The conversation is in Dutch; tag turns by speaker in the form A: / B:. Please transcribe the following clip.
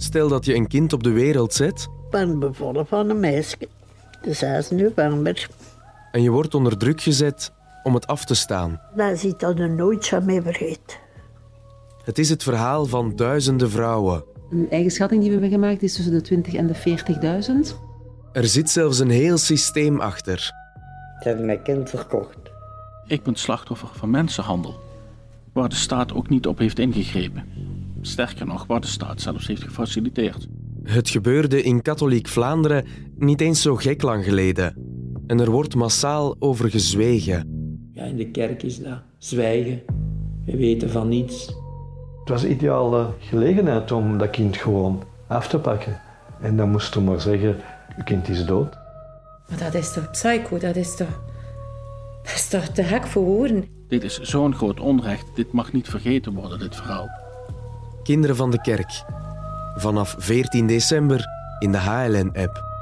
A: Stel dat je een kind op de wereld zet
B: Ik ben bevallen van een meisje. Dus hij is nu warmer.
A: en je wordt onder druk gezet om het af te staan.
B: Dat is iets dat je nooit zou mee vergeten.
A: Het is het verhaal van duizenden vrouwen.
C: Een eigen schatting die we hebben gemaakt is tussen de 20 en de 40.000.
A: Er zit zelfs een heel systeem achter.
D: Ze hebben mijn kind verkocht.
E: Ik ben slachtoffer van mensenhandel, waar de staat ook niet op heeft ingegrepen. Sterker nog, waar de staat zelfs heeft gefaciliteerd.
A: Het gebeurde in katholiek Vlaanderen niet eens zo gek lang geleden. En er wordt massaal over gezwegen.
F: Ja, in de kerk is dat zwijgen. We weten van niets.
G: Het was een ideale gelegenheid om dat kind gewoon af te pakken. En dan moest je maar zeggen, je kind is dood.
H: Maar dat is toch psycho? Dat is toch... Dat is toch te hek voor woorden?
E: Dit is zo'n groot onrecht, dit mag niet vergeten worden, dit verhaal.
A: Kinderen van de Kerk. Vanaf 14 december in de HLN-app.